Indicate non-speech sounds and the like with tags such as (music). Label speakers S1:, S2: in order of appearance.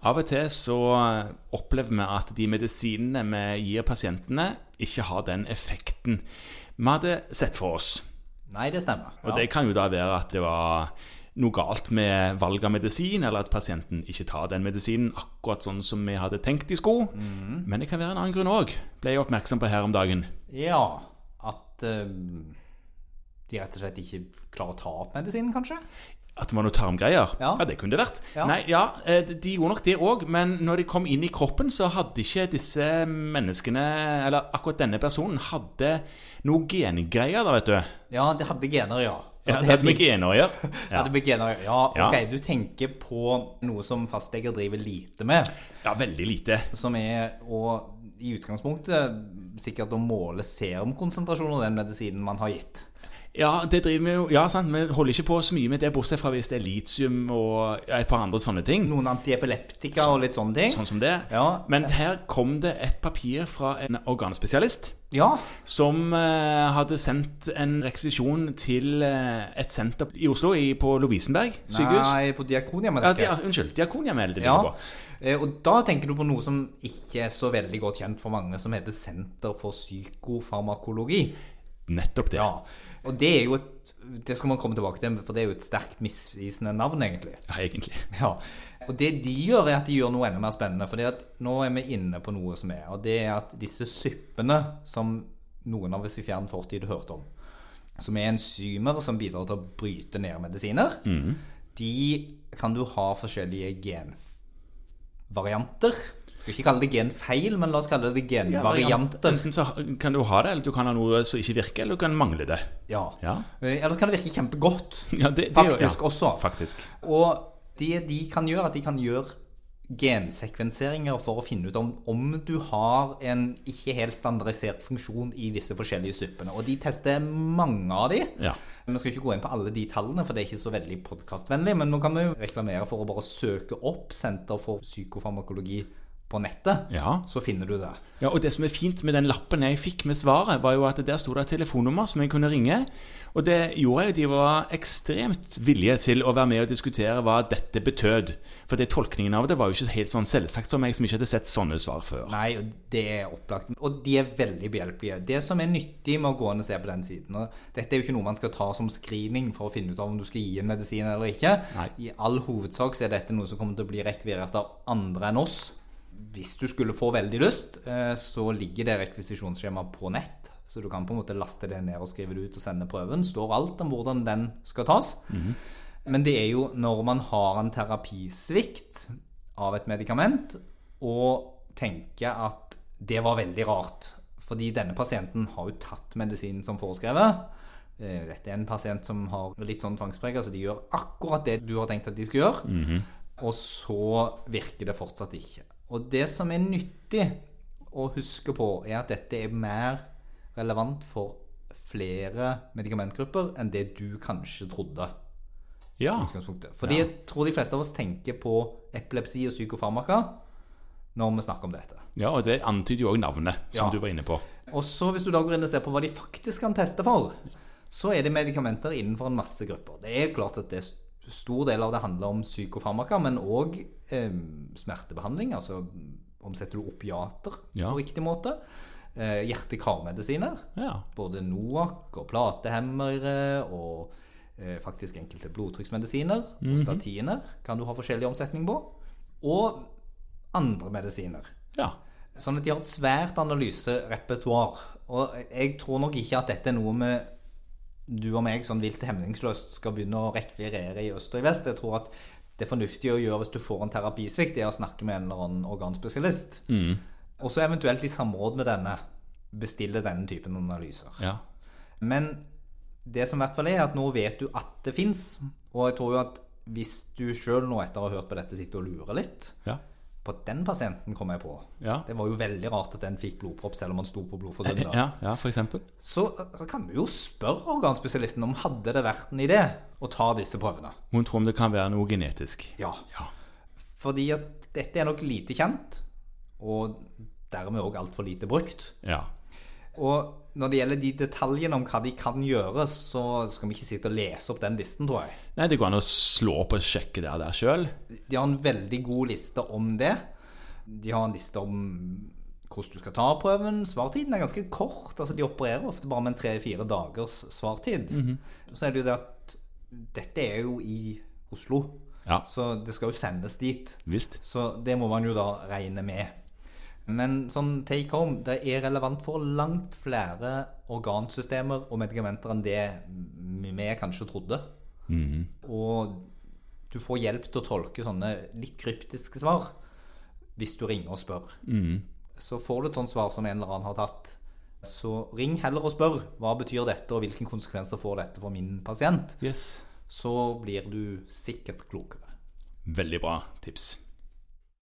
S1: Av og til så eh, opplever vi at de medisinene vi gir pasientene, ikke har den effekten vi hadde sett for oss.
S2: Nei, det stemmer.
S1: Og det kan jo da være at det var noe galt med valg av medisin, eller at pasienten ikke tar den medisinen akkurat sånn som vi hadde tenkt de skulle. Men det kan være en annen grunn òg, ble jeg oppmerksom på her om dagen.
S2: Ja, at eh, de rett og slett ikke klarer å ta opp medisinen, kanskje?
S1: At det var noe tarmgreier?
S2: Ja.
S1: det kunne det vært.
S2: Ja.
S1: Nei, ja, eh, De gjorde nok det òg, men når de kom inn i kroppen, så hadde ikke disse menneskene, eller akkurat denne personen, hadde noe gengreier da, vet du.
S2: Ja, det hadde gener, ja.
S1: Ja,
S2: Og
S1: det hadde vi ikke enig å
S2: (laughs)
S1: gjøre. Ja.
S2: hadde med gener, ja.
S1: Ja.
S2: Ok, du tenker på noe som fastleger driver lite med,
S1: ja, veldig lite.
S2: som er å i utgangspunktet sikkert å måle serumkonsentrasjonen av den medisinen man har gitt.
S1: Ja, det driver vi jo Ja, sant, vi holder ikke på så mye med det, bortsett fra hvis det er litium og ja, et par andre sånne ting.
S2: Noen antiepileptika og litt sånne ting.
S1: Sånn som det.
S2: Ja.
S1: Men her kom det et papir fra en organspesialist.
S2: Ja,
S1: Som eh, hadde sendt en rekvisisjon til eh, et senter i Oslo, i, på Lovisenberg sykehus.
S2: nei, på diakonia med
S1: Ja,
S2: dette.
S1: dia, unnskyld. Diakonhjemmet det
S2: Ja.
S1: ligger på.
S2: Eh, Og da tenker du på noe som ikke er så veldig godt kjent for mange, som heter Senter for psykofarmakologi.
S1: Nettopp det.
S2: Ja. Og det er jo et Det skal man komme tilbake til, for det er jo et sterkt misvisende navn, egentlig.
S1: Ja, egentlig.
S2: (laughs) Ja. Og det de gjør, er at de gjør noe enda mer spennende. For nå er vi inne på noe som er, og det er at disse suppene som noen av oss i fjern fortid hørte om, som er enzymer som bidrar til å bryte ned medisiner,
S1: Mhm.
S2: de kan du ha forskjellige genvarianter. Vi skal ikke kalle det genfeil, men la oss kalle det genvarianter.
S1: Enten så kan du ha det, eller du kan ha noe som ikke virker, eller du kan mangle det. (laughs)
S2: Ja.
S1: Ja.
S2: Eh, Ellers kan det virke kjempegodt.
S1: Ja, det- det gjør- ja.
S2: Faktisk også.
S1: Faktisk.
S2: Og det de kan gjøre, er at de kan gjøre gensekvenseringer for å finne ut om, om du har en ikke helt standardisert funksjon i disse forskjellige suppene. Og de tester mange av de.
S1: Ja.
S2: Men Vi skal ikke gå inn på alle de tallene, for det er ikke så veldig podkastvennlig. Men nå kan vi jo reklamere for å bare søke opp Senter for psykofarmakologi på nettet.
S1: Ja.
S2: Så finner du det.
S1: Ja, og Det som er fint med den lappen jeg fikk med svaret, var jo at der sto det et telefonnummer som jeg kunne ringe. Og det gjorde jeg. De var ekstremt villige til å være med og diskutere hva dette betød. For det tolkningen av det var jo ikke helt sånn selvsagt for meg som ikke hadde sett sånne svar før.
S2: Nei, og det er opplagt. Og de er veldig behjelpelige. Det som er nyttig med å gå inn og se på den siden og Dette er jo ikke noe man skal ta som screening for å finne ut av om du skal gi en medisin eller ikke.
S1: Nei.
S2: I all hovedsak så er dette noe som kommer til å bli rekvirert av andre enn oss. Hvis du skulle få veldig lyst, eh, så ligger det rekvisisjonsskjema på nett. Så du kan på en måte laste det ned og skrive det ut og sende prøven. Står alt om hvordan den skal tas. Men det er jo når man har en terapisvikt av et medikament, og tenker at det var veldig rart. Fordi denne pasienten har jo tatt medisinen som foreskrevet. Eh, Dette er en pasient som har litt sånn tvangspreget, så de gjør akkurat det du har tenkt at de skal gjøre. Og så virker det fortsatt ikke. Og det som er nyttig å huske på, er at dette er mer relevant for flere medikamentgrupper enn det du kanskje trodde
S1: Ja,
S2: utgangspunktet. Fordi jeg tror de fleste av oss tenker på epilepsi og psykofarmaka når vi snakker om dette.
S1: ja og det antyder jo òg navnet, som
S2: Ja.
S1: du var inne på.
S2: Og så hvis du da går inn og ser på hva de faktisk kan teste for, så er det medikamenter innenfor en masse grupper. Det er klart at det er st- stor del av det handler om psykofarmaka, men òg eh, smertebehandling. Altså omsetter du opiater
S1: Ja.
S2: på riktig måte. Eh, Hjerte-karmedisiner.
S1: Ja.
S2: Både NOAC og platehemmere og eh, faktisk enkelte blodtrykksmedisiner og statiner kan du ha forskjellig omsetning på. Og andre medisiner.
S1: ja.
S2: Sånn at de har et svært analyserepertoar. Og jeg tror nok ikke at dette er noe vi du og meg sånn vilt hemningsløst skal begynne å rekvirere i øst og i vest. Jeg tror at det fornuftige å gjøre hvis du får en terapisvikt, er å snakke med en eller annen organspesialist. Og så eventuelt i samråd med denne bestille denne typen analyser.
S1: ja.
S2: Men det som i hvert fall er, at nå vet du at det fins. Og jeg tror jo at hvis du sjøl nå etter å ha hørt på dette sitter og lurer litt
S1: Ja.
S2: på at den pasienten kom jeg på.
S1: Ja.
S2: Det var jo veldig rart at den fikk blodpropp selv om han sto på blodfortynnelse.
S1: ja, ja, for eksempel.
S2: Så, så kan du jo spørre organspesialisten om hadde det vært en idé å ta disse prøvene.
S1: Hun tror om det kan være noe genetisk.
S2: Ja.
S1: Ja.
S2: Fordi at dette er nok lite kjent, og dermed òg altfor lite brukt.
S1: Ja.
S2: Og når det gjelder de detaljene om hva de kan gjøre, så skal vi ikke sitte og lese opp den listen, tror jeg.
S1: Nei, det går an å slå opp og sjekke det der sjøl.
S2: De har en veldig god liste om det. De har en liste om hvordan du skal ta prøven. Svartiden er ganske kort. altså De opererer ofte bare med en tre-fire dagers svartid. Så er det jo det at dette er jo i Oslo,
S1: Ja.
S2: så det skal jo sendes dit.
S1: Visst.
S2: Så det må man jo da regne med. Men sånn take home, det er relevant for langt flere organsystemer og medikamenter enn det vi kanskje trodde. Og du får hjelp til å tolke sånne litt kryptiske svar hvis du ringer og spør. Så får du et sånt svar som en eller annen har tatt. Så ring heller og spør hva betyr dette, og hvilke konsekvenser får dette for min pasient.
S1: Yes.
S2: Så blir du sikkert klokere.
S1: Veldig bra tips.